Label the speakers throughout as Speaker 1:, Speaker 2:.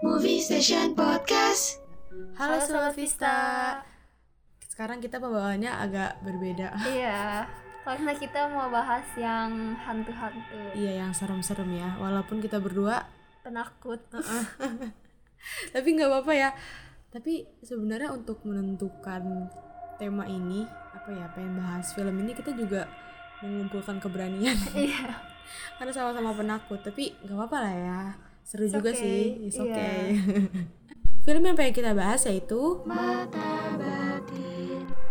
Speaker 1: Movie Station Podcast.
Speaker 2: Halo
Speaker 3: Halo,
Speaker 2: Sobat
Speaker 3: Sobat
Speaker 2: Vista.
Speaker 3: Vista.
Speaker 2: Sekarang kita pembawaannya agak berbeda.
Speaker 3: Iya, karena kita mau bahas yang hantu-hantu,
Speaker 2: Iya, yang serem-serem ya. Walaupun kita berdua,
Speaker 3: penakut.
Speaker 2: tapi nggak apa-apa ya. Tapi sebenarnya untuk menentukan tema ini, apa ya, pengen bahas film ini kita juga mengumpulkan keberanian.
Speaker 3: Iya,
Speaker 2: Karena sama-sama penakut, tapi nggak apa-apa lah ya. Seru
Speaker 3: It's
Speaker 2: juga
Speaker 3: okay.
Speaker 2: sih. It's
Speaker 3: Iya.
Speaker 2: okay. film yang pengen kita bahas yaitu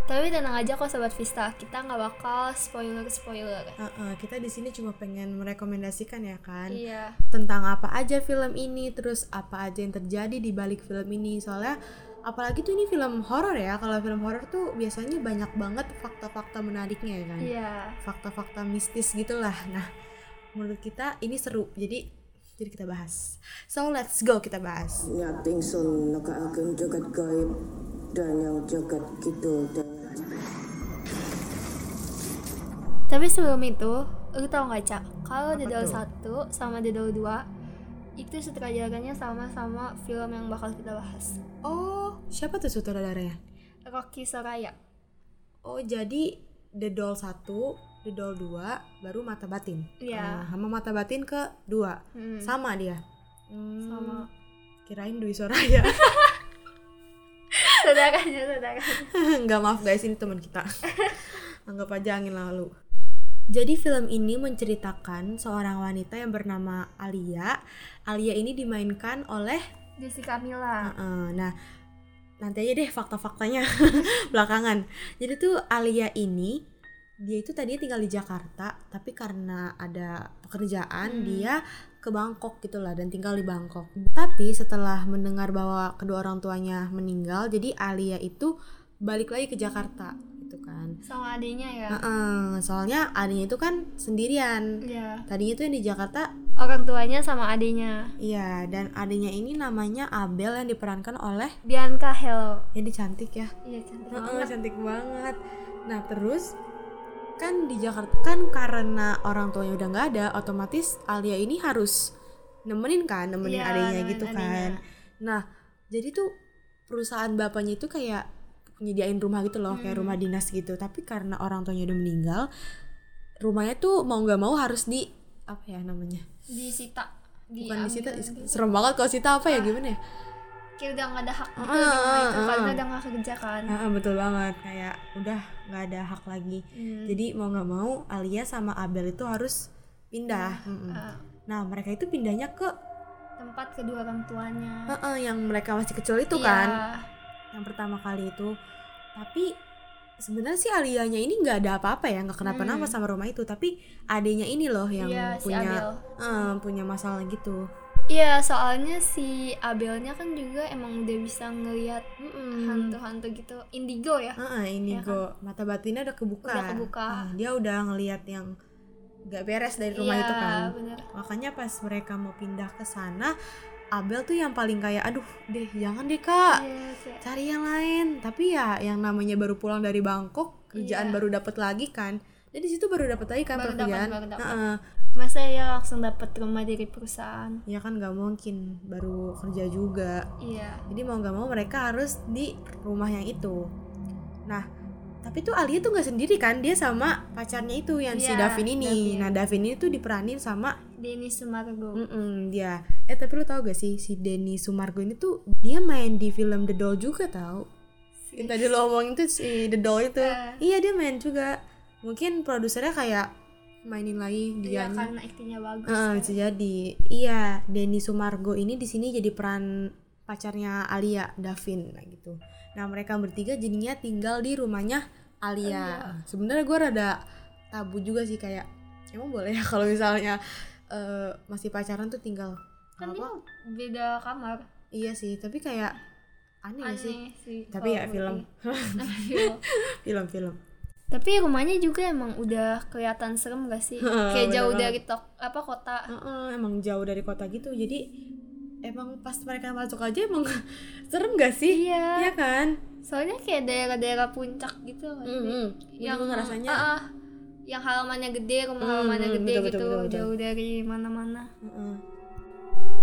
Speaker 3: tapi tenang aja kok Sobat Vista, kita nggak bakal spoiler-spoiler.
Speaker 2: Uh-uh, kita di sini cuma pengen merekomendasikan ya kan.
Speaker 3: Iya,
Speaker 2: tentang apa aja film ini, terus apa aja yang terjadi di balik film ini. Soalnya apalagi tuh ini film horor ya. Kalau film horor tuh biasanya banyak banget fakta-fakta menariknya ya kan.
Speaker 3: iya,
Speaker 2: Fakta-fakta mistis gitulah. Nah, menurut kita ini seru. Jadi jadi kita bahas. So let's go kita bahas.
Speaker 4: Nyating sun nekaaken jagat gaib dan yang jagat kidul dan
Speaker 3: Tapi sebelum itu, lu tau nggak Cak? Kalau Dedal 1 sama Dedal 2 itu sutradaranya sama-sama film yang bakal kita bahas.
Speaker 2: Oh, siapa tuh sutradaranya?
Speaker 3: Rocky Soraya.
Speaker 2: Oh, jadi The Doll 1, The Doll 2, baru Mata Batin. Ah,
Speaker 3: Iya.
Speaker 2: sama Mata Batin ke 2.
Speaker 3: Hmm,
Speaker 2: Sama dia. Hmm.
Speaker 3: Sama.
Speaker 2: Kirain Dwi ya. Soraya.
Speaker 3: saudaranya, saudaranya.
Speaker 2: nggak maaf guys ini teman kita anggap aja angin lalu jadi film ini menceritakan seorang wanita yang bernama Alia Alia ini dimainkan oleh
Speaker 3: Jessica Mila.
Speaker 2: eh, nah nanti aja deh fakta-faktanya belakangan jadi tuh Alia ini dia itu tadinya tinggal di Jakarta tapi karena ada pekerjaan
Speaker 3: Hmm.
Speaker 2: dia ke Bangkok gitulah dan tinggal di Bangkok tapi setelah mendengar bahwa kedua orang tuanya meninggal jadi Alia itu balik lagi ke Jakarta gitu kan
Speaker 3: Sama adiknya ya.
Speaker 2: Heeh, soalnya Alia itu kan sendirian
Speaker 3: Iya.
Speaker 2: tadinya tuh yang di Jakarta
Speaker 3: orang tuanya sama adiknya
Speaker 2: iya dan adanya ini namanya Abel yang diperankan oleh
Speaker 3: Bianca Hello
Speaker 2: jadi cantik ya
Speaker 3: iya cantik
Speaker 2: Heeh,
Speaker 3: banget
Speaker 2: cantik banget. Nah terus kan di Jakarta kan karena orang tuanya udah nggak ada, otomatis Alia ini harus nemenin kan, nemenin
Speaker 3: Iya,
Speaker 2: adiknya
Speaker 3: nemenin
Speaker 2: gitu kan.
Speaker 3: adiknya.
Speaker 2: Nah jadi tuh perusahaan bapaknya itu kayak nyediain rumah gitu loh, kayak
Speaker 3: Hmm.
Speaker 2: rumah dinas gitu. Tapi karena orang tuanya udah meninggal, rumahnya tuh mau nggak mau harus di apa ya namanya?
Speaker 3: di Sita di
Speaker 2: Bukan di Sita, serem banget kalau Sita apa ya gimana ya?
Speaker 3: kayak udah nggak ada hak gitu
Speaker 2: Ah,
Speaker 3: di rumah itu
Speaker 2: ah,
Speaker 3: karena
Speaker 2: ah.
Speaker 3: udah nggak kerja kan
Speaker 2: Ah, betul banget kayak udah nggak ada hak lagi.
Speaker 3: Hmm.
Speaker 2: Jadi mau nggak mau Alia sama Abel itu harus pindah. Mm-mm.
Speaker 3: Ah,
Speaker 2: Nah mereka itu pindahnya ke
Speaker 3: tempat kedua orang tuanya
Speaker 2: eh, eh, yang mereka masih kecil itu
Speaker 3: Iya.
Speaker 2: kan. Yang pertama kali itu. Tapi sebenarnya sih Alianya ini nggak ada apa-apa ya nggak kenapa-napa
Speaker 3: Hmm.
Speaker 2: sama rumah itu. Tapi adenya ini loh yang
Speaker 3: Iya, si Abel
Speaker 2: punya eh, punya masalah gitu.
Speaker 3: iya soalnya si Abelnya kan juga emang udah bisa ngelihat hantu-hantu gitu indigo ya
Speaker 2: ini
Speaker 3: Iya
Speaker 2: go mata batinnya udah kebuka.
Speaker 3: Udah kebuka.
Speaker 2: Eh, dia udah ngelihat yang nggak beres dari rumah
Speaker 3: iya
Speaker 2: itu kan.
Speaker 3: bener
Speaker 2: Makanya pas mereka mau pindah ke sana, Abel tuh yang paling kayak aduh deh jangan deh kak
Speaker 3: Iya, kayak-
Speaker 2: cari yang lain. Tapi ya yang namanya baru pulang dari Bangkok kerjaan
Speaker 3: Iya.
Speaker 2: baru dapat lagi kan. Jadi situ baru dapat lagi kan
Speaker 3: Baru dapat,
Speaker 2: pekerjaan.
Speaker 3: baru dapat.
Speaker 2: Heeh.
Speaker 3: masa ya langsung dapat rumah dari perusahaan
Speaker 2: Ya kan nggak mungkin baru kerja juga.
Speaker 3: iya
Speaker 2: Jadi mau nggak mau mereka harus di rumah yang itu. Nah tapi tuh Alia tuh nggak sendiri kan dia sama pacarnya itu yang si
Speaker 3: Iya,
Speaker 2: Davin ini.
Speaker 3: Davin.
Speaker 2: Nah Davin ini tuh diperanin sama
Speaker 3: Denny Sumargo
Speaker 2: Mm. Mm-mm, dia. Eh tapi lu tau gak sih si Denny Sumargo ini tuh dia main di film The Doll juga tau. Yang
Speaker 3: Iya,
Speaker 2: tadi lu omongin tuh si The Doll itu.
Speaker 3: Eh.
Speaker 2: Iya dia main juga. Mungkin produsernya kayak mainin lagi dia.
Speaker 3: Iya karena aktingnya bagus.
Speaker 2: Heeh,
Speaker 3: kan.
Speaker 2: bisa jadi. Iya, Denny Sumargo ini di sini jadi peran pacarnya Alia, Davin nah gitu. Nah, mereka bertiga jadinya tinggal di rumahnya Alia. Sebenarnya gue rada tabu juga sih kayak emang boleh ya kalau misalnya eh, masih pacaran tuh tinggal
Speaker 3: Kan
Speaker 2: apa?
Speaker 3: dia beda kamar.
Speaker 2: Iya sih, tapi kayak aneh, gak
Speaker 3: Aneh
Speaker 2: Iya sih.
Speaker 3: sih.
Speaker 2: Tapi ya
Speaker 3: kalau
Speaker 2: film,
Speaker 3: menurut gue.
Speaker 2: film-film.
Speaker 3: Iya. Tapi rumahnya juga emang udah kelihatan serem gak sih? Kayak
Speaker 2: Bener
Speaker 3: jauh
Speaker 2: banget.
Speaker 3: dari tok apa kota.
Speaker 2: Heeh, emang jauh dari kota gitu. Jadi emang pas mereka masuk aja emang serem gak sih?
Speaker 3: Iya.
Speaker 2: Iya kan?
Speaker 3: Soalnya kayak daerah-daerah puncak gitu. kan.
Speaker 2: Yang ngerasanya
Speaker 3: Ah, ah. yang halamannya gede, rumah
Speaker 2: Hmm,
Speaker 3: halamannya
Speaker 2: hmm,
Speaker 3: gede
Speaker 2: betul,
Speaker 3: gitu,
Speaker 2: betul, betul, betul.
Speaker 3: jauh dari mana-mana.
Speaker 2: Heeh.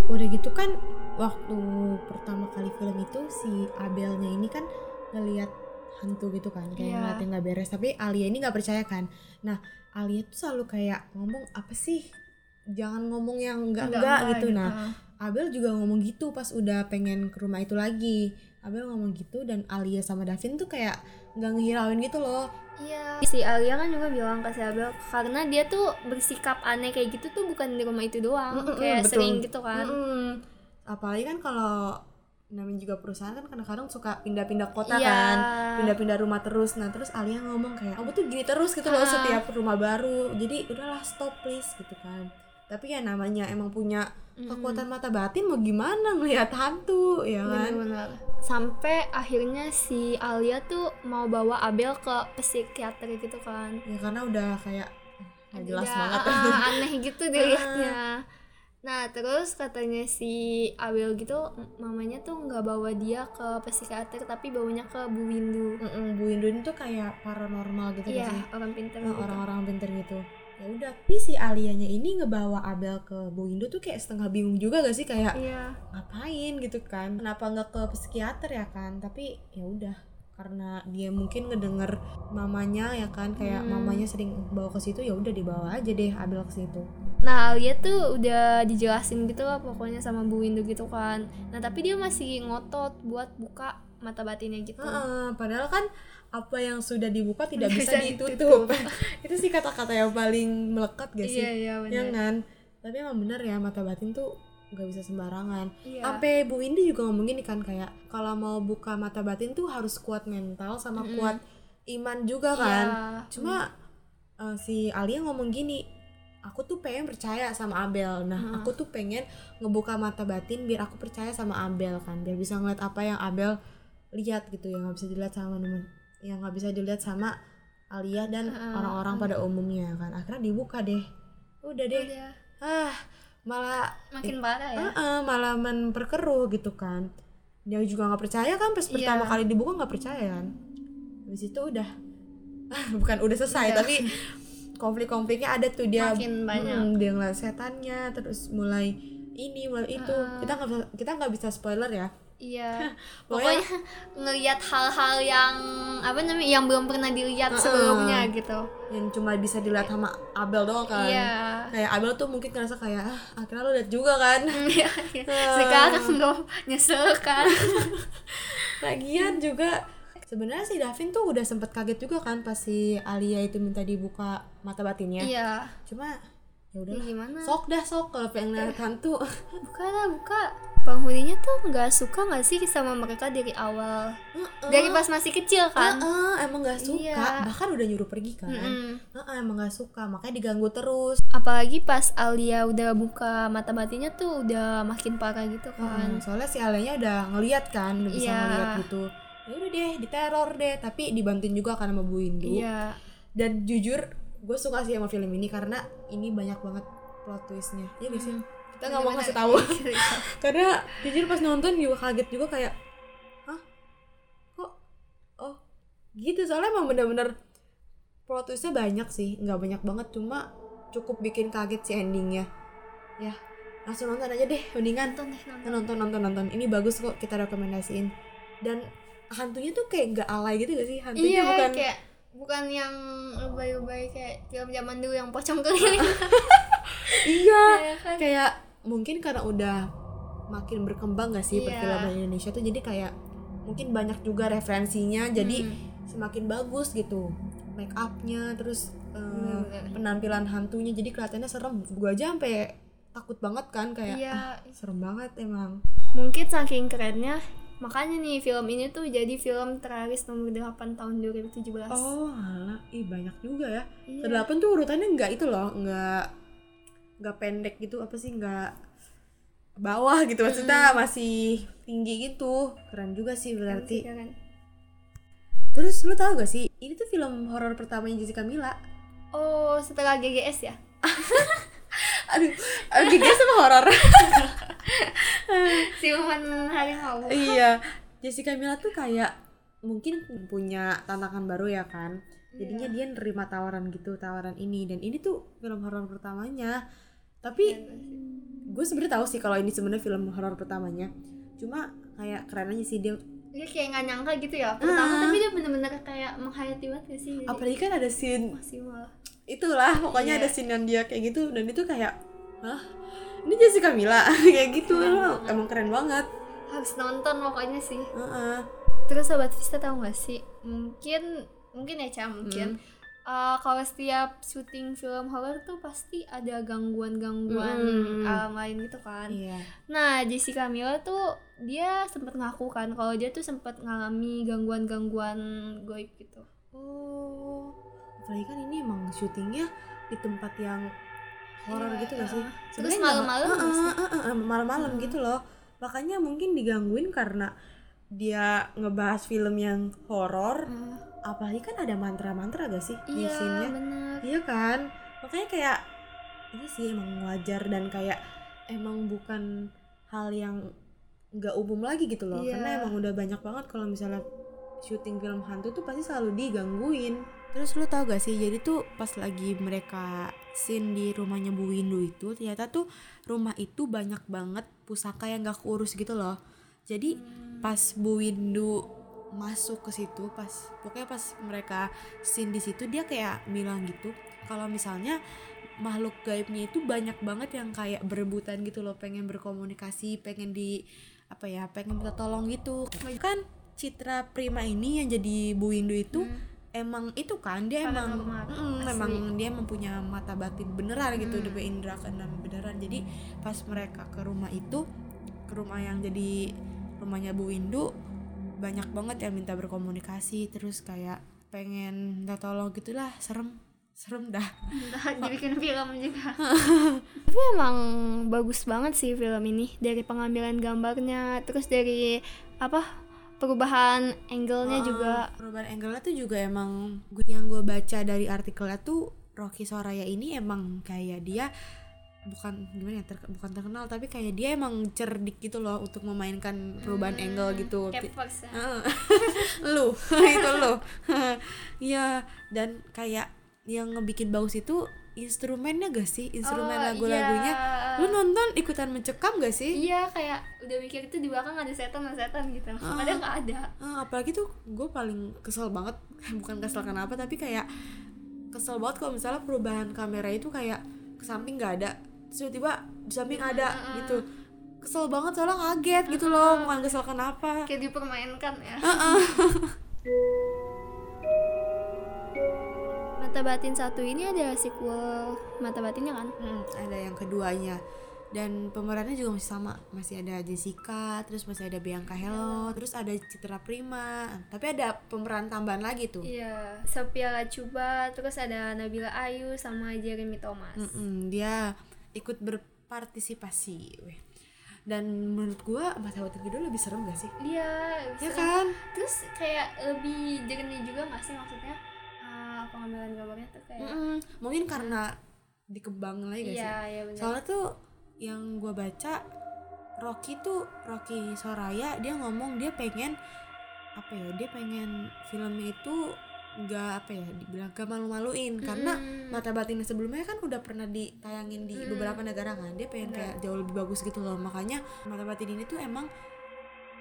Speaker 2: Udah gitu kan waktu pertama kali film itu si Abelnya ini kan ngelihat hantu gitu kan kayak
Speaker 3: Iya.
Speaker 2: ngeliatnya nggak beres tapi Alia ini nggak percaya kan nah Alia tuh selalu kayak ngomong apa sih jangan ngomong yang enggak enggak gitu nah Abel juga ngomong gitu pas udah pengen ke rumah itu lagi Abel ngomong gitu dan Alia sama Davin tuh kayak nggak ngehirauin gitu loh
Speaker 3: Iya. Si Alia kan juga bilang ke si Abel karena dia tuh bersikap aneh kayak gitu tuh bukan di rumah itu doang,
Speaker 2: Mm-mm,
Speaker 3: kayak
Speaker 2: betul.
Speaker 3: sering gitu kan.
Speaker 2: Mm-mm. apalagi kan kalau namanya juga perusahaan kan kadang-kadang suka pindah-pindah kota
Speaker 3: Iya.
Speaker 2: kan pindah-pindah rumah terus nah terus Alia ngomong kayak kamu tuh gini terus gitu loh
Speaker 3: Ah.
Speaker 2: setiap rumah baru jadi udahlah stop please gitu kan tapi ya namanya emang punya
Speaker 3: Mm-mm.
Speaker 2: kekuatan mata batin mau gimana ngelihat hantu ya kan
Speaker 3: Benar-benar. Sampai akhirnya si Alia tuh mau bawa Abel ke psikiater gitu kan.
Speaker 2: ya karena udah kayak "Ah, nggak jelas
Speaker 3: Tidak,
Speaker 2: banget
Speaker 3: ah, aneh gitu dilihatnya. Nah terus katanya si Abel gitu mamanya tuh nggak bawa dia ke psikiater tapi bawanya ke Bu Windu.
Speaker 2: Mm-mm, Bu Indun tuh kayak paranormal gitu kan
Speaker 3: Iya
Speaker 2: sih
Speaker 3: orang pintar.
Speaker 2: Nah,
Speaker 3: gitu.
Speaker 2: orang-orang pinter gitu ya udah tapi si alianya ini ngebawa Abel ke Bu Indo tuh kayak setengah bingung juga gak sih kayak
Speaker 3: Iya.
Speaker 2: ngapain gitu kan kenapa nggak ke psikiater ya kan tapi ya udah karena dia mungkin ngedenger mamanya ya kan kayak
Speaker 3: Hmm.
Speaker 2: mamanya sering bawa ke situ ya udah dibawa aja deh Abel ke situ
Speaker 3: Nah Alia tuh udah dijelasin gitu lah pokoknya sama Bu Windu gitu kan. Nah tapi dia masih ngotot buat buka mata batinnya gitu.
Speaker 2: Heeh, padahal kan apa yang sudah dibuka tidak
Speaker 3: Nggak
Speaker 2: bisa
Speaker 3: bisa
Speaker 2: ditutup itu sih kata-kata yang paling melekat gak sih
Speaker 3: Iya iya
Speaker 2: ya
Speaker 3: benar.
Speaker 2: kan tapi emang bener ya mata batin tuh nggak bisa sembarangan
Speaker 3: Iya.
Speaker 2: sampai Bu Windy juga ngomong gini kan kayak kalau mau buka mata batin tuh harus kuat mental sama
Speaker 3: Mm-mm.
Speaker 2: kuat iman juga
Speaker 3: Iya.
Speaker 2: kan cuma eh, si Alia ngomong gini aku tuh pengen percaya sama Abel nah
Speaker 3: Hmm.
Speaker 2: aku tuh pengen ngebuka mata batin biar aku percaya sama Abel kan biar bisa ngeliat apa yang Abel lihat gitu yang nggak bisa dilihat sama temen yang nggak bisa dilihat sama Alia dan
Speaker 3: Hmm.
Speaker 2: orang-orang pada umumnya kan akhirnya dibuka deh udah deh
Speaker 3: Udah.
Speaker 2: ah malah
Speaker 3: Iya. makin parah ya.
Speaker 2: Heeh, malah memperkeruh gitu kan dia juga nggak percaya kan pas pertama
Speaker 3: Iya.
Speaker 2: kali dibuka nggak percaya kan habis itu udah bukan udah selesai
Speaker 3: Udah.
Speaker 2: tapi konflik-konfliknya ada tuh dia
Speaker 3: Iya. Makin banyak.
Speaker 2: Mm, dia ngeliat setannya terus mulai ini mulai itu
Speaker 3: Heeh.
Speaker 2: kita nggak bisa- kita nggak bisa spoiler ya
Speaker 3: Iya.
Speaker 2: Pokoknya-
Speaker 3: Pokoknya ngelihat hal-hal yang apa namanya yang belum pernah dilihat
Speaker 2: Heeh.
Speaker 3: sebelumnya gitu.
Speaker 2: yang cuma bisa dilihat sama Abel doang kan
Speaker 3: Iya.
Speaker 2: kayak Abel tuh mungkin ngerasa kayak ah, akhirnya lo lihat juga kan
Speaker 3: Iya. iya. Sekarang lo nyesel kan?
Speaker 2: Lagian juga sebenarnya si Davin tuh udah sempet kaget juga kan pas si Alia itu minta dibuka mata batinnya.
Speaker 3: Iya.
Speaker 2: Cuma ya
Speaker 3: Ya
Speaker 2: udahlah.
Speaker 3: gimana?
Speaker 2: Sok dah sok kalau pengen lihat hantu.
Speaker 3: buka lah buka penghuninya tuh nggak suka nggak sih sama mereka dari awal
Speaker 2: Oh.
Speaker 3: dari pas masih kecil kan
Speaker 2: Heeh, emang gak suka,
Speaker 3: Iya.
Speaker 2: bahkan udah nyuruh pergi kan.
Speaker 3: Mm-mm.
Speaker 2: Heeh, emang gak suka, makanya diganggu terus.
Speaker 3: apalagi pas Alia udah buka mata matinya tuh udah makin parah gitu
Speaker 2: Heeh,
Speaker 3: kan
Speaker 2: soalnya si Alianya udah ngeliat kan, udah bisa
Speaker 3: Iya.
Speaker 2: ngeliat gitu. Ya udah deh, diteror deh, tapi dibantuin juga kan sama Bu Windu.
Speaker 3: iya
Speaker 2: Dan jujur, gue suka sih sama film ini karena ini banyak banget plot twistnya. Iya gak sih?
Speaker 3: Hmm.
Speaker 2: Kita nggak mau ngasih tahu. karena jujur pas nonton juga kaget juga kayak hah kok oh gitu soalnya emang bener-bener plot twistnya banyak sih nggak banyak banget cuma cukup bikin kaget si endingnya ya langsung nonton aja deh mendingan
Speaker 3: nonton deh nonton
Speaker 2: nonton nonton nonton ini bagus kok kita rekomendasiin dan hantunya tuh kayak nggak alay gitu gak sih hantunya
Speaker 3: iya
Speaker 2: bukan
Speaker 3: kayak bukan yang lebay-lebay kayak film zaman dulu yang pocong keliling
Speaker 2: iya
Speaker 3: Iya kan?
Speaker 2: kayak mungkin karena udah makin berkembang gak sih
Speaker 3: Iya.
Speaker 2: perfilman Indonesia tuh jadi kayak mungkin banyak juga referensinya jadi
Speaker 3: Mm.
Speaker 2: semakin bagus gitu make upnya terus eh,
Speaker 3: Bener-bener.
Speaker 2: penampilan hantunya jadi kelihatannya serem gua aja sampai takut banget kan kayak
Speaker 3: Iya.
Speaker 2: "Ah, serem banget emang
Speaker 3: mungkin saking kerennya makanya nih film ini tuh jadi film teraris nomor 8 tahun 2017
Speaker 2: oh alah ih banyak juga ya
Speaker 3: Iya.
Speaker 2: kedelapan tuh urutannya nggak itu loh nggak nggak pendek gitu apa sih nggak bawah gitu maksudnya masih tinggi gitu keren juga sih berarti
Speaker 3: Keren.
Speaker 2: Terus lu tau gak sih, ini tuh film horor pertamanya Jessica Mila.
Speaker 3: Oh, setelah GGS ya?
Speaker 2: Aduh, gigi sama horor.
Speaker 3: Siluman harimau.
Speaker 2: iya, Jessica Mila tuh kayak mungkin punya tantangan baru ya kan. Jadinya dia nerima tawaran gitu, tawaran ini dan ini tuh film horor pertamanya. Tapi gue sebenarnya tahu sih kalau ini sebenarnya film horor pertamanya cuma kayak keren aja sih dia
Speaker 3: dia kayak nggak nyangka gitu ya pertama
Speaker 2: Ah.
Speaker 3: tapi dia bener-bener kayak menghayati banget gak sih Jadi
Speaker 2: apalagi kan ada scene
Speaker 3: maksimal
Speaker 2: itulah pokoknya
Speaker 3: Iya.
Speaker 2: ada scene yang dia kayak gitu dan itu kayak hah ini Jessica Mila kayak gitu loh emang keren banget
Speaker 3: harus nonton pokoknya sih
Speaker 2: Heeh.
Speaker 3: terus sobat Vista tahu nggak sih mungkin mungkin ya
Speaker 2: Hmm.
Speaker 3: Cam mungkin eh, kalau setiap syuting film horor tuh pasti ada gangguan-gangguan
Speaker 2: Mm.
Speaker 3: alam lain gitu kan
Speaker 2: iya
Speaker 3: Nah, Jessica Mila tuh dia sempat ngaku kan kalau dia tuh sempat ngalami gangguan-gangguan goib gitu.
Speaker 2: oh apalagi kan ini emang syutingnya di tempat yang horor
Speaker 3: Iya,
Speaker 2: gitu gak sih
Speaker 3: heeh. Terus
Speaker 2: Sebenarnya nggak-
Speaker 3: malam-malam
Speaker 2: Heeh,
Speaker 3: nggak sih?
Speaker 2: heeh, heeh, malam-malam gitu loh makanya mungkin digangguin karena dia ngebahas film yang horor apalagi kan ada mantra-mantra gak sih di
Speaker 3: iya,
Speaker 2: scene-nya
Speaker 3: bener.
Speaker 2: Iya kan? Makanya kayak ini sih emang wajar dan kayak emang bukan hal yang nggak umum lagi gitu loh.
Speaker 3: Iya.
Speaker 2: Karena emang udah banyak banget kalau misalnya syuting film hantu tuh pasti selalu digangguin. Terus lu tau gak sih, jadi tuh pas lagi mereka scene di rumahnya Bu Windu itu ternyata tuh rumah itu banyak banget pusaka yang gak keurus gitu loh. Jadi pas Bu Windu masuk ke situ pas pokoknya pas mereka scene di situ dia kayak bilang gitu kalau misalnya makhluk gaibnya itu banyak banget yang kayak berebutan gitu loh pengen berkomunikasi pengen di apa ya pengen minta tolong gitu kan Citra Prima ini yang jadi Bu Windu itu emang itu kan dia emang
Speaker 3: Paranormal,
Speaker 2: Mm,
Speaker 3: asli.
Speaker 2: emang dia mempunya mata batin beneran gitu udah punya indera keenam beneran jadi pas mereka ke rumah itu ke rumah yang jadi rumahnya Bu Windu banyak banget yang minta berkomunikasi terus kayak pengen minta tolong gitulah serem serem dah
Speaker 3: Entah dibikin film juga. Tapi emang bagus banget sih film ini dari pengambilan gambarnya, terus dari apa perubahan angle-nya juga.
Speaker 2: perubahan angle-nya tuh juga emang gua- yang gue baca dari artikelnya tuh Rocky Soraya ini emang kayak dia bukan gimana ya terke- bukan terkenal tapi kayak dia emang cerdik gitu loh untuk memainkan perubahan
Speaker 3: Hmm,
Speaker 2: angle gitu
Speaker 3: Capers ya.
Speaker 2: Heeh. lu itu lu ya dan kayak yang ngebikin bagus itu instrumennya gak sih instrumen
Speaker 3: Oh,
Speaker 2: lagu-lagunya
Speaker 3: iya.
Speaker 2: lu nonton ikutan mencekam gak sih
Speaker 3: Iya kayak udah mikir itu di belakang ada setan ada setan gitu. Padahal nggak ada.
Speaker 2: Ah, apalagi tuh gue paling kesel banget bukan kesel kenapa tapi kayak kesel banget kalau misalnya perubahan kamera itu kayak ke samping nggak ada terus tiba-tiba di samping ada gitu kesel banget soalnya kaget gitu loh bukan kesel kenapa
Speaker 3: Kayak dipermainkan ya.
Speaker 2: Ah,
Speaker 3: Mata Batin satu ini ada sequel Mata Batinnya kan?
Speaker 2: Mm, ada yang keduanya dan pemerannya juga masih sama masih ada Jessica terus masih ada Bianca Hello terus ada Citra Prima tapi ada pemeran tambahan lagi tuh
Speaker 3: Iya, Sophia Lacuba, terus ada Nabila Ayu sama Jeremy Thomas.
Speaker 2: Mm-mm, dia ikut berpartisipasi weh. dan menurut gua mata batin kedua lebih serem gak sih
Speaker 3: Iya,
Speaker 2: ya
Speaker 3: bisa-
Speaker 2: kan
Speaker 3: Terus kayak lebih jernih juga nggak sih maksudnya? eh, pengambilan gambarnya tuh kayak
Speaker 2: Mm-mm, mungkin karena dikembang lagi gak
Speaker 3: Iya,
Speaker 2: sih
Speaker 3: iya benar.
Speaker 2: soalnya tuh yang gua baca Rocky tuh Rocky Soraya dia ngomong dia pengen apa ya dia pengen filmnya itu nggak apa ya dibilang gak malu-maluin karena
Speaker 3: Mm.
Speaker 2: mata batin sebelumnya kan udah pernah ditayangin di
Speaker 3: Hmm.
Speaker 2: beberapa negara kan dia pengen kayak jauh lebih bagus gitu loh makanya mata batin ini tuh emang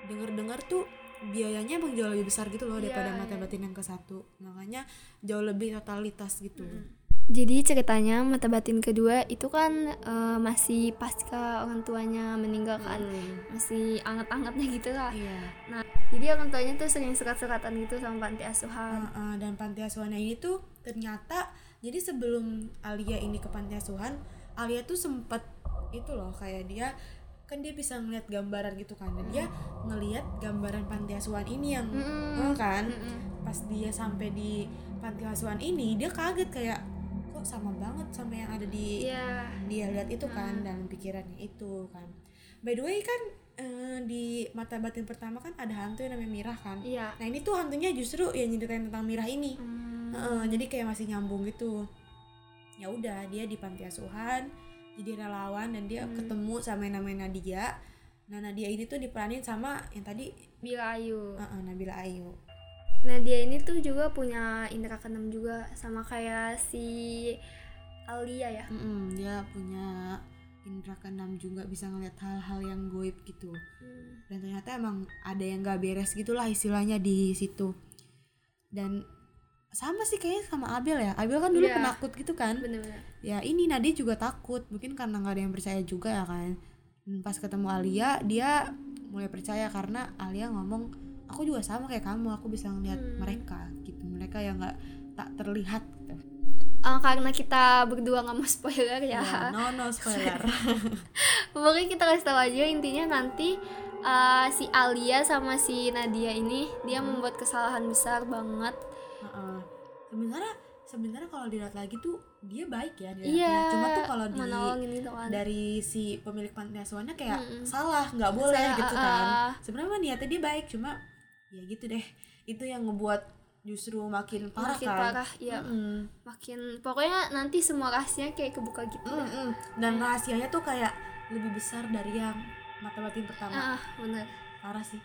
Speaker 2: denger-dengar tuh biayanya emang jauh lebih besar gitu loh
Speaker 3: Iya,
Speaker 2: daripada mata
Speaker 3: iya.
Speaker 2: batin yang ke satu makanya jauh lebih totalitas gitu
Speaker 3: Jadi ceritanya mata batin kedua itu kan eh, masih pasca orang tuanya meninggal kan, masih anget-angetnya gitu lah.
Speaker 2: Mm. iya
Speaker 3: Nah, jadi orang tuanya tuh sering surat-suratan gitu sama panti asuhan.
Speaker 2: Uh, uh, dan panti asuhannya ini tuh ternyata jadi sebelum Alia ini ke panti asuhan Alia tuh sempet itu loh kayak dia kan dia bisa ngeliat gambaran gitu kan dan dia
Speaker 3: Hmm.
Speaker 2: ngeliat gambaran panti asuhan ini yang eh,
Speaker 3: Mm-mm.
Speaker 2: kan
Speaker 3: Mm-mm.
Speaker 2: pas dia sampai di panti asuhan ini dia kaget kayak kok sama banget sama yang ada di
Speaker 3: Iya. Hmm.
Speaker 2: dia lihat itu kan dalam pikirannya itu kan by the way kan eh, di mata batin pertama kan ada hantu yang namanya Mirah kan
Speaker 3: Iya.
Speaker 2: Nah ini tuh hantunya justru yang nyeritain tentang Mirah ini.
Speaker 3: Mm,
Speaker 2: Heeh,
Speaker 3: Hmm.
Speaker 2: jadi kayak masih nyambung gitu. Ya udah dia di panti asuhan, jadi relawan dan dia
Speaker 3: Hmm.
Speaker 2: ketemu sama yang namanya Nadia. Nah Nadia ini tuh diperanin sama yang tadi
Speaker 3: Bila Ayu.
Speaker 2: heeh, Nabila Ayu.
Speaker 3: Nah dia ini tuh juga punya indera keenam juga sama kayak si Alia ya.
Speaker 2: Mm-mm, dia punya indra keenam juga bisa ngelihat hal-hal yang goib gitu dan ternyata emang ada yang gak beres gitulah istilahnya di situ dan sama sih kayaknya sama Abel ya Abel kan dulu
Speaker 3: Iya.
Speaker 2: penakut gitu kan
Speaker 3: bener-bener
Speaker 2: ya ini Nadia juga takut mungkin karena nggak ada yang percaya juga ya kan Hmm, pas ketemu Alia dia mulai percaya karena Alia ngomong aku juga sama kayak kamu aku bisa ngeliat mereka gitu mereka yang nggak tak terlihat gitu.
Speaker 3: Ah, karena kita berdua nggak mau spoiler ya
Speaker 2: Ya, no no spoiler
Speaker 3: Pokoknya kita kasih tahu aja intinya nanti uh, si Alia sama si Nadia ini dia
Speaker 2: Hmm.
Speaker 3: membuat kesalahan besar banget.
Speaker 2: Heeh. sebenarnya sebenarnya kalau dilihat lagi tuh dia baik ya dilihatnya.
Speaker 3: Iya.
Speaker 2: cuma tuh kalau di
Speaker 3: menolongin itu kan.
Speaker 2: dari si pemilik panti asuhannya kayak
Speaker 3: Mm-mm.
Speaker 2: salah nggak boleh
Speaker 3: Salah,
Speaker 2: gitu
Speaker 3: ah,
Speaker 2: kan
Speaker 3: ah.
Speaker 2: sebenarnya mah niatnya dia baik cuma ya gitu deh itu yang ngebuat justru makin parah
Speaker 3: makin
Speaker 2: kan
Speaker 3: parah ya,
Speaker 2: Mm-mm.
Speaker 3: makin pokoknya nanti semua rahasia kayak kebuka gitu. dah.
Speaker 2: Mm-mm. dan rahasianya tuh kayak lebih besar dari yang mata batin pertama
Speaker 3: Ah, bener.
Speaker 2: parah sih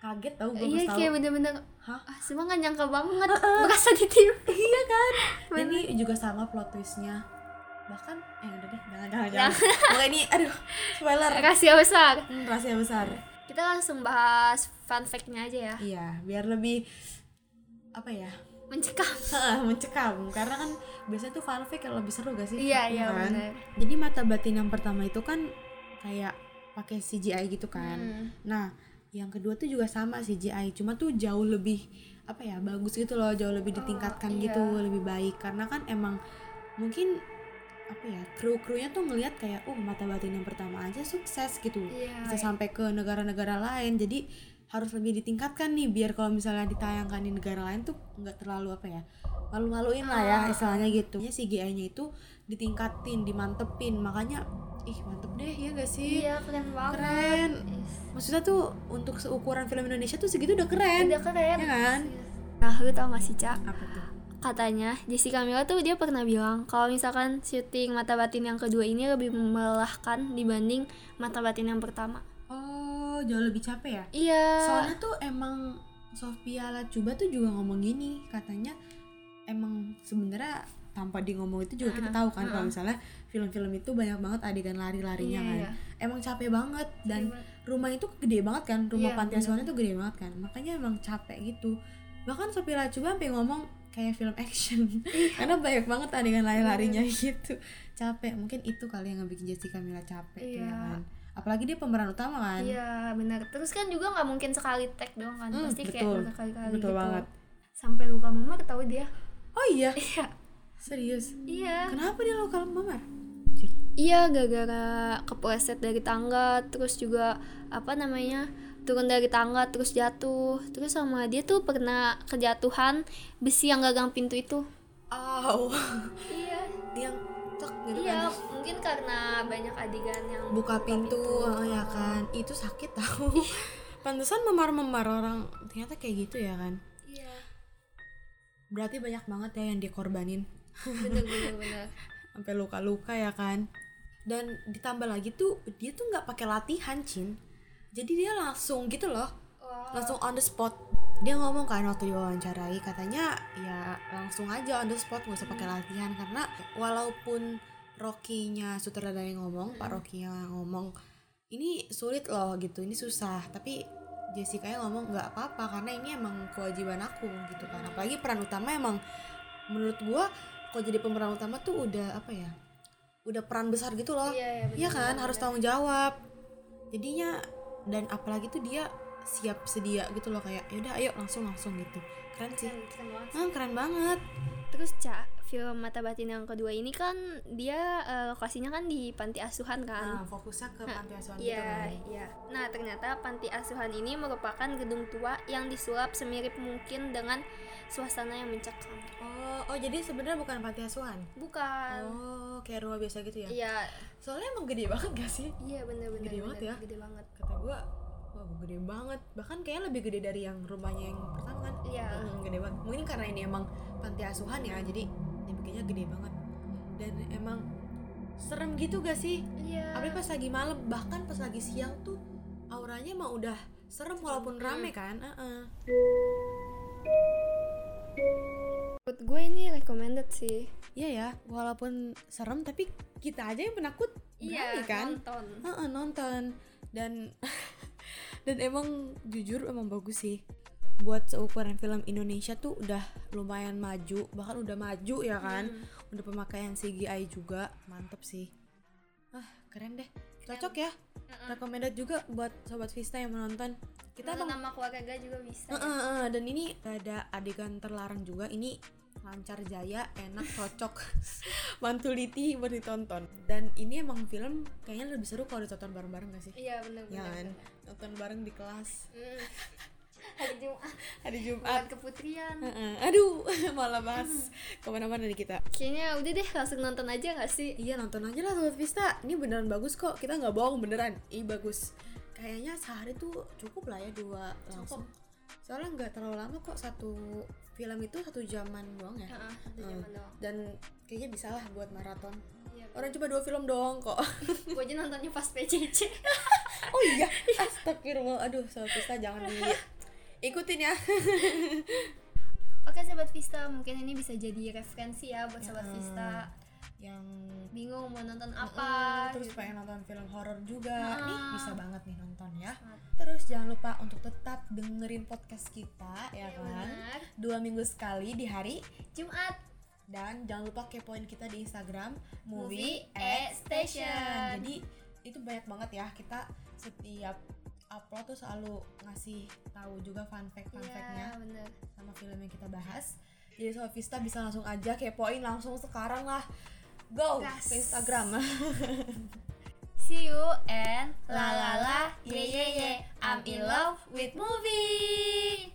Speaker 2: kaget tau gue
Speaker 3: Iya
Speaker 2: tahu
Speaker 3: kayak bener-bener
Speaker 2: Hah? Eh,
Speaker 3: ah, semua nggak nyangka banget berasa ditipu.
Speaker 2: iya kan dan
Speaker 3: Bener.
Speaker 2: ini juga sama plot twistnya bahkan eh udah deh jangan jangan
Speaker 3: Nah.
Speaker 2: jangan Pokoknya ini aduh spoiler
Speaker 3: Rahasia besar.
Speaker 2: Hmm, rahasia besar
Speaker 3: Kita langsung bahas fun fact-nya aja ya.
Speaker 2: Iya, biar lebih apa ya?
Speaker 3: Mencekam.
Speaker 2: mencekam karena kan biasanya tuh fanfic yang lebih seru gak sih?
Speaker 3: Iya, iya
Speaker 2: kan?
Speaker 3: bener.
Speaker 2: Jadi mata batin yang pertama itu kan kayak pakai CGI gitu kan.
Speaker 3: Hmm.
Speaker 2: Nah, yang kedua tuh juga sama CGI, cuma tuh jauh lebih apa ya? Bagus gitu loh, jauh lebih ditingkatkan
Speaker 3: iya.
Speaker 2: gitu, lebih baik karena kan emang mungkin apa ya kru-krunya tuh ngelihat kayak oh mata batin yang pertama aja sukses gitu
Speaker 3: Iya.
Speaker 2: bisa sampai ke negara-negara lain jadi harus lebih ditingkatkan nih biar kalau misalnya ditayangkan di negara lain tuh nggak terlalu apa ya malu-maluin lah ya
Speaker 3: Ah.
Speaker 2: istilahnya gitu ya CGI-nya itu ditingkatin dimantepin makanya ih mantep deh ya gak sih
Speaker 3: Iya, keren banget.
Speaker 2: keren maksudnya tuh untuk seukuran film Indonesia tuh segitu udah keren
Speaker 3: Udah Iya, keren.
Speaker 2: ya kan
Speaker 3: Nah, lu tau gak sih, Cak?
Speaker 2: apa tuh
Speaker 3: katanya Jessica Mila tuh dia pernah bilang kalau misalkan syuting mata batin yang kedua ini lebih melelahkan dibanding mata batin yang pertama
Speaker 2: oh jauh lebih capek ya
Speaker 3: iya
Speaker 2: soalnya tuh emang Sofia Lacuba tuh juga ngomong gini katanya emang sebenarnya tanpa di ngomong itu juga kita tahu kan kalau misalnya film-film itu banyak banget adegan lari-larinya
Speaker 3: Iya,
Speaker 2: kan
Speaker 3: iya.
Speaker 2: emang capek banget dan rumah itu gede banget kan rumah
Speaker 3: Iya,
Speaker 2: panti asuhannya tuh gede banget kan makanya emang capek gitu bahkan Sofia Lacuba sampai ngomong kayak film
Speaker 3: Iya.
Speaker 2: action karena banyak banget adegan lari-larinya gitu capek mungkin itu kali yang ngebikin Jessica Mila capek tuh ya
Speaker 3: Iya.
Speaker 2: kan apalagi dia pemeran utama kan
Speaker 3: iya benar terus kan juga nggak mungkin sekali tag doang kan
Speaker 2: Hmm,
Speaker 3: pasti kayak
Speaker 2: betul.
Speaker 3: berkali-kali
Speaker 2: Betul
Speaker 3: gitu
Speaker 2: banget.
Speaker 3: sampai luka mama ketahui dia
Speaker 2: oh iya
Speaker 3: iya
Speaker 2: serius
Speaker 3: iya
Speaker 2: Kenapa dia lokal memar?
Speaker 3: iya gara-gara kepleset dari tangga terus juga apa namanya turun dari tangga terus jatuh terus sama dia tuh pernah kejatuhan besi yang gagang pintu itu
Speaker 2: Oh,
Speaker 3: iya
Speaker 2: yang tek gitu
Speaker 3: Iya,
Speaker 2: kan.
Speaker 3: mungkin karena banyak adegan yang
Speaker 2: Buka pintu, oh, ya kan. Itu sakit tahu. Pantesan memar-memar orang ternyata kayak gitu ya kan.
Speaker 3: Iya,
Speaker 2: Berarti banyak banget ya yang dikorbanin
Speaker 3: bener bener bener.
Speaker 2: sampai luka-luka ya kan. Dan ditambah lagi tuh dia tuh nggak pakai latihan, Cin. Jadi dia langsung gitu loh. Langsung on the spot. Dia ngomong kan waktu diwawancarai katanya ya langsung aja on the spot nggak usah pakai latihan karena walaupun Rocky-nya sutradara yang ngomong, Pak Rocky yang ngomong ini sulit loh gitu, ini susah. Tapi Jessica yang ngomong nggak apa-apa karena ini emang kewajiban aku gitu kan. Apalagi peran utama emang menurut gua kalau jadi pemeran utama tuh udah apa ya? Udah peran besar gitu loh.
Speaker 3: Iya, iya, bener,
Speaker 2: Iya kan,
Speaker 3: bener,
Speaker 2: harus
Speaker 3: bener.
Speaker 2: tanggung jawab. Jadinya dan apalagi tuh dia siap sedia gitu loh kayak yaudah ayo langsung langsung gitu. Keren
Speaker 3: iya,
Speaker 2: sih. Ah, keren banget.
Speaker 3: Terus Ca, film Mata Batin yang kedua ini kan dia eh, lokasinya kan di panti asuhan kan.
Speaker 2: Ah, fokusnya ke gitu panti asuhan kan.
Speaker 3: Iya, iya. Nah, ternyata panti asuhan ini merupakan gedung tua yang disulap semirip mungkin dengan suasana yang mencekam.
Speaker 2: Oh, oh jadi sebenarnya bukan panti asuhan.
Speaker 3: Bukan.
Speaker 2: Oh, kayak rumah biasa gitu ya.
Speaker 3: Ah. Iya,
Speaker 2: Soalnya emang gede banget gak sih?
Speaker 3: iya bener bener.
Speaker 2: Gede
Speaker 3: bener,
Speaker 2: banget ya.
Speaker 3: Gede banget.
Speaker 2: Kata gua, wah gede banget. Bahkan kayaknya lebih gede dari yang rumahnya yang pertama kan.
Speaker 3: Iya.
Speaker 2: Mm, gede banget. Mungkin karena ini emang panti asuhan ya, jadi dia bikinnya gede banget. Dan emang serem gitu gak sih?
Speaker 3: Iya.
Speaker 2: Apalagi pas lagi malam, bahkan pas lagi siang tuh auranya emang udah serem walaupun rame kan. Heeh.
Speaker 3: Menurut gue ini recommended sih.
Speaker 2: Iya ya, walaupun serem tapi kita aja yang penakut.
Speaker 3: Iya,
Speaker 2: Berani kan?
Speaker 3: nonton.
Speaker 2: Heeh, nonton dan dan emang jujur emang bagus sih buat seukuran film Indonesia tuh udah lumayan maju bahkan udah maju ya kan udah pemakaian CGI juga mantep sih ah keren deh cocok ya recommended juga buat sobat Vista yang menonton kita
Speaker 3: Kita
Speaker 2: emang
Speaker 3: nama keluarga juga bisa.
Speaker 2: Heeh, heeh, dan ini ya. ada adegan terlarang juga ini lancar jaya enak cocok mantuliti buat ditonton dan ini emang film kayaknya lebih seru kalau ditonton bareng-bareng gak sih
Speaker 3: Iya, benar-benar.
Speaker 2: ya kan nonton bareng di kelas
Speaker 3: Mm. Hari Jumat
Speaker 2: hari
Speaker 3: buat
Speaker 2: Jumat
Speaker 3: keputrian.
Speaker 2: Heeh, aduh malah bahas kemana-mana nih kita
Speaker 3: Kayaknya udah deh langsung nonton aja gak sih?
Speaker 2: iya nonton aja lah Sobat Vista ini beneran bagus kok kita nggak bohong beneran ih bagus kayaknya sehari tuh cukup lah ya dua langsung soalnya nggak terlalu lama kok satu film itu satu jaman doang ya
Speaker 3: Heeh, satu
Speaker 2: Hmm.
Speaker 3: jaman doang.
Speaker 2: dan kayaknya bisa lah buat maraton
Speaker 3: Iya.
Speaker 2: orang cuma dua film doang kok
Speaker 3: Gue aja nontonnya pas PCC.
Speaker 2: oh iya astagfirullah aduh Sobat Vista jangan di ikutin ya
Speaker 3: Oke sobat Vista, mungkin ini bisa jadi referensi ya buat
Speaker 2: Hmm.
Speaker 3: sobat Vista.
Speaker 2: yang
Speaker 3: Bingung mau nonton apa?
Speaker 2: Hmm, terus
Speaker 3: gitu.
Speaker 2: pengen nonton film horor juga
Speaker 3: Nah.
Speaker 2: nih bisa banget nih nonton ya terus jangan lupa untuk tetap dengerin podcast kita ya
Speaker 3: Iya,
Speaker 2: kan
Speaker 3: benar.
Speaker 2: dua minggu sekali di hari
Speaker 3: Jumat
Speaker 2: dan jangan lupa kepoin kita di Instagram movie,
Speaker 3: Movie at
Speaker 2: at station.
Speaker 3: Station.
Speaker 2: jadi itu banyak banget ya kita setiap upload tuh selalu ngasih tahu juga fun fact fun factnya
Speaker 3: Iya, bener
Speaker 2: sama film yang kita bahas. Jadi Sobat Vista bisa langsung aja kepoin langsung sekarang lah. Go
Speaker 3: Gas.
Speaker 2: ke Instagram.
Speaker 3: See you and la la la
Speaker 2: ye, ye, ye.
Speaker 3: I'm in love with movie.